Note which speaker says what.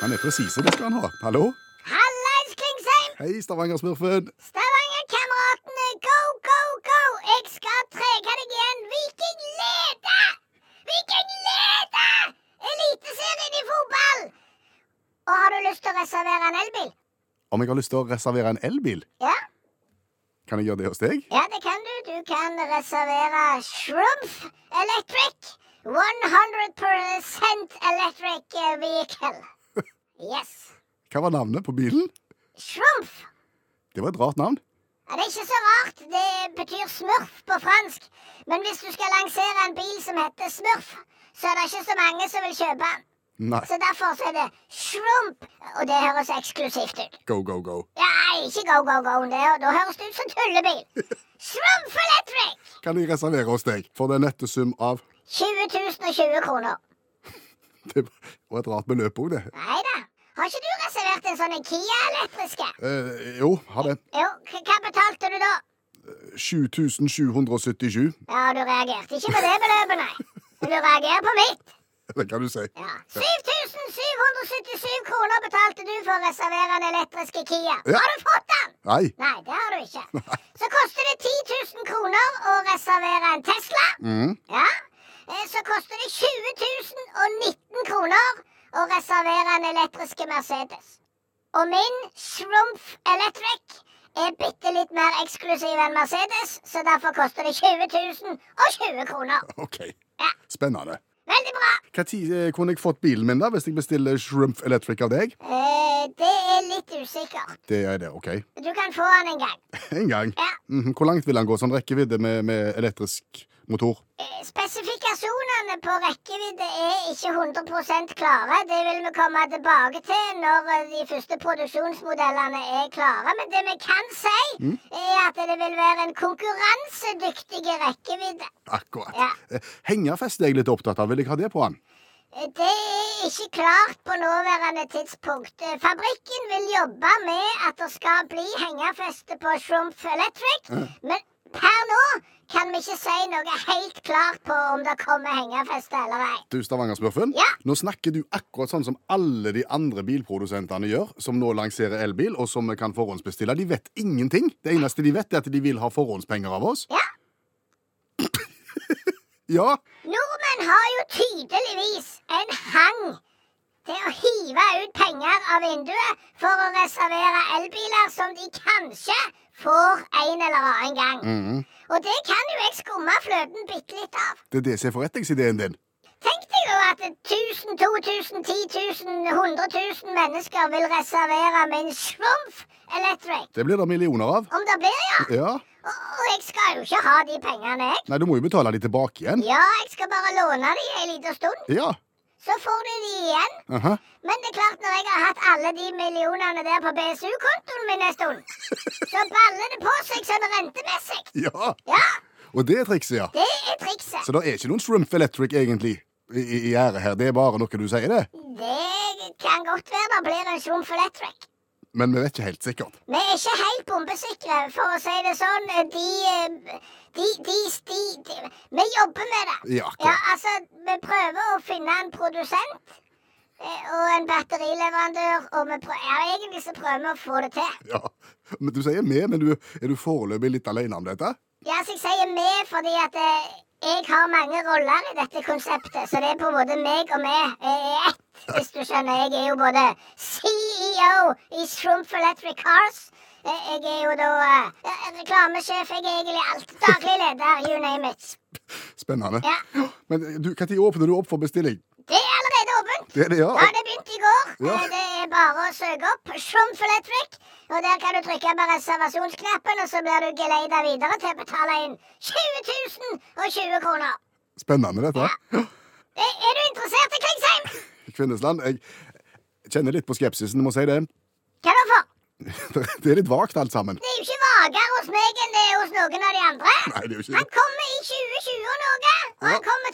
Speaker 1: Han er presise, det skal han ha. Hallo?
Speaker 2: Hallais, Klingsheim!
Speaker 1: Hei, Stavanger-smurfen.
Speaker 2: Stavangerkameratene, go, go, go! Jeg skal trege deg igjen. Viking leder! Viking leder! Eliteserien i fotball! Og har du lyst til å reservere en elbil?
Speaker 1: Om jeg har lyst til å reservere en elbil,
Speaker 2: Ja,
Speaker 1: kan jeg gjøre det hos deg?
Speaker 2: ja det kan du. Du kan reservere Shrumpf Electric. 100 electric vehicle. Yes.
Speaker 1: Hva var navnet på bilen?
Speaker 2: Shrumpf.
Speaker 1: Det var et rart navn.
Speaker 2: Ja, det er ikke så rart. Det betyr smurf på fransk. Men hvis du skal lansere en bil som heter smurf, så er det ikke så mange som vil kjøpe den.
Speaker 1: Nei.
Speaker 2: Så derfor så er det shrump, og det høres eksklusivt ut.
Speaker 1: Go, go, go.
Speaker 2: Nei, ikke go, go, go. Det, da høres det ut som tullebil. Shrump Electric!
Speaker 1: Kan jeg reservere hos deg for den nette sum av
Speaker 2: 20 020 kroner.
Speaker 1: Det var et rart beløp òg, det.
Speaker 2: Nei da. Har ikke du reservert en sånn en Kia elektriske?
Speaker 1: Eh, jo, ha det.
Speaker 2: Jo, k- hva betalte du da?
Speaker 1: 7777.
Speaker 2: Ja, du reagerte ikke på det beløpet, nei. Men du reagerer på mitt.
Speaker 1: Det kan du si.
Speaker 2: Ja. 7777 kroner betalte du for å reservere den elektriske Kia.
Speaker 1: Ja.
Speaker 2: Har du fått den?
Speaker 1: Nei.
Speaker 2: Nei, det har du ikke. Så koster det 10 000 kroner å reservere en Tesla.
Speaker 1: Mm.
Speaker 2: Ja. Eh, Så koster det 20 019 kroner å reservere en elektriske Mercedes. Og min Schrumpf Electric er bitte litt mer eksklusiv enn Mercedes, så derfor koster det 20 020 kroner.
Speaker 1: OK.
Speaker 2: Ja.
Speaker 1: Spennende.
Speaker 2: Veldig bra.
Speaker 1: Når kunne jeg fått bilen min da, hvis jeg bestiller Shrimp Electric av deg?
Speaker 2: Eh, det er litt usikkert.
Speaker 1: Det er det, OK.
Speaker 2: Du kan få den en gang.
Speaker 1: En gang.
Speaker 2: Ja.
Speaker 1: Mhm. Hvor langt vil han gå sånn rekkevidde med, med elektrisk motor?
Speaker 2: Eh, Spesifikasjonene på rekkevidde er ikke 100 klare. Det vil vi komme tilbake til når eh, de første produksjonsmodellene er klare. Men det vi kan si, er at det vil være en konkurransedyktig rekkevidde.
Speaker 1: Akkurat.
Speaker 2: Ja.
Speaker 1: Eh, Hengerfest er jeg litt opptatt av. Vil jeg ha det på han?
Speaker 2: Eh, Det er ikke klart på nåværende tidspunkt. Eh, Fabrikken vil jobbe med at det skal bli hengerfeste på Shrumpf Electric, men per nå kan vi ikke si noe helt klart på om det kommer hengerfeste eller ei.
Speaker 1: Du, Stavanger-smurfen.
Speaker 2: Ja.
Speaker 1: Nå snakker du akkurat sånn som alle de andre bilprodusentene gjør, som nå lanserer elbil, og som vi kan forhåndsbestille. De vet ingenting. Det eneste de vet, er at de vil ha forhåndspenger av oss.
Speaker 2: Ja.
Speaker 1: Ja,
Speaker 2: Nordmenn har jo tydeligvis en hang til å hive ut penger av vinduet for å reservere elbiler som de kanskje får en eller annen gang.
Speaker 1: Mm.
Speaker 2: Og det kan jo jeg skumme fløten bitte litt av.
Speaker 1: Mm-hmm. det er det som er forretningsideen din.
Speaker 2: Tenk deg jo at 1000, 2000, 10 000, 100 000 mennesker vil reservere min Schrumpf Electric.
Speaker 1: Det blir det millioner av.
Speaker 2: Om det blir, ja.
Speaker 1: Ja.
Speaker 2: Og og jeg skal jo ikke ha de pengene, jeg.
Speaker 1: Nei, du må jo betale de tilbake igjen.
Speaker 2: Ja, jeg skal bare låne de en liten stund.
Speaker 1: Ja.
Speaker 2: Så får du de igjen.
Speaker 1: Aha.
Speaker 2: Men det er klart, når jeg har hatt alle de millionene der på BSU-kontoen min en stund, så baller det på seg sånn rentemessig.
Speaker 1: Ja.
Speaker 2: Ja,
Speaker 1: Og det er trikset, ja.
Speaker 2: det er trikset.
Speaker 1: Så det er ikke noen Shrimp Electric egentlig i, i, i ære her. Det er bare noe du sier, det.
Speaker 2: Det kan godt være det blir en Schrumpf Electric.
Speaker 1: Men vi vet ikke helt sikkert.
Speaker 2: Vi er ikke helt bombesikre, for å si det sånn. De eh, De, de, de, de Vi jobber med det.
Speaker 1: Ja, akkurat.
Speaker 2: ja, altså, vi prøver å finne en produsent. eh, Og en batterileverandør. Og vi prøver, ja, egentlig så prøver vi å få det til.
Speaker 1: Ja. Men du sier vi, men du, er du foreløpig litt alene om dette?
Speaker 2: Ja, så jeg sier vi fordi at eh, jeg har mange roller i dette konseptet. Så det er på en måte meg og vi eh, er ett, hvis du skjønner. Jeg er jo både CEO i Shrumpf Electric Cars. eh, Jeg er jo da eh, eh, reklamesjef. Jeg er egentlig alt. Daglig leder, you name it.
Speaker 1: Spennende.
Speaker 2: Ja.
Speaker 1: Men du, når åpner du opp for bestilling?
Speaker 2: Det er allerede åpent.
Speaker 1: Det er det, ja.
Speaker 2: Ja, det begynte i går.
Speaker 1: Ja.
Speaker 2: Eh, Det er bare å søke opp Shrumpf Electric. Og der kan du trykke på reservasjonsknappen, og så blir du geleida videre til å betale inn 20 020 kroner.
Speaker 1: Spennende, dette.
Speaker 2: Er Eh, er du interessert i Klingsheim?
Speaker 1: Kvinnesland, jeg kjenner litt på skepsisen, må si det.
Speaker 2: Hva da for?
Speaker 1: Det er litt vagt, alt sammen.
Speaker 2: Det er jo ikke vagere hos meg enn det er hos noen av de andre.
Speaker 1: Nei, det er jo ikke
Speaker 2: Han
Speaker 1: det.
Speaker 2: kommer i 2020 og noe. og Han kommer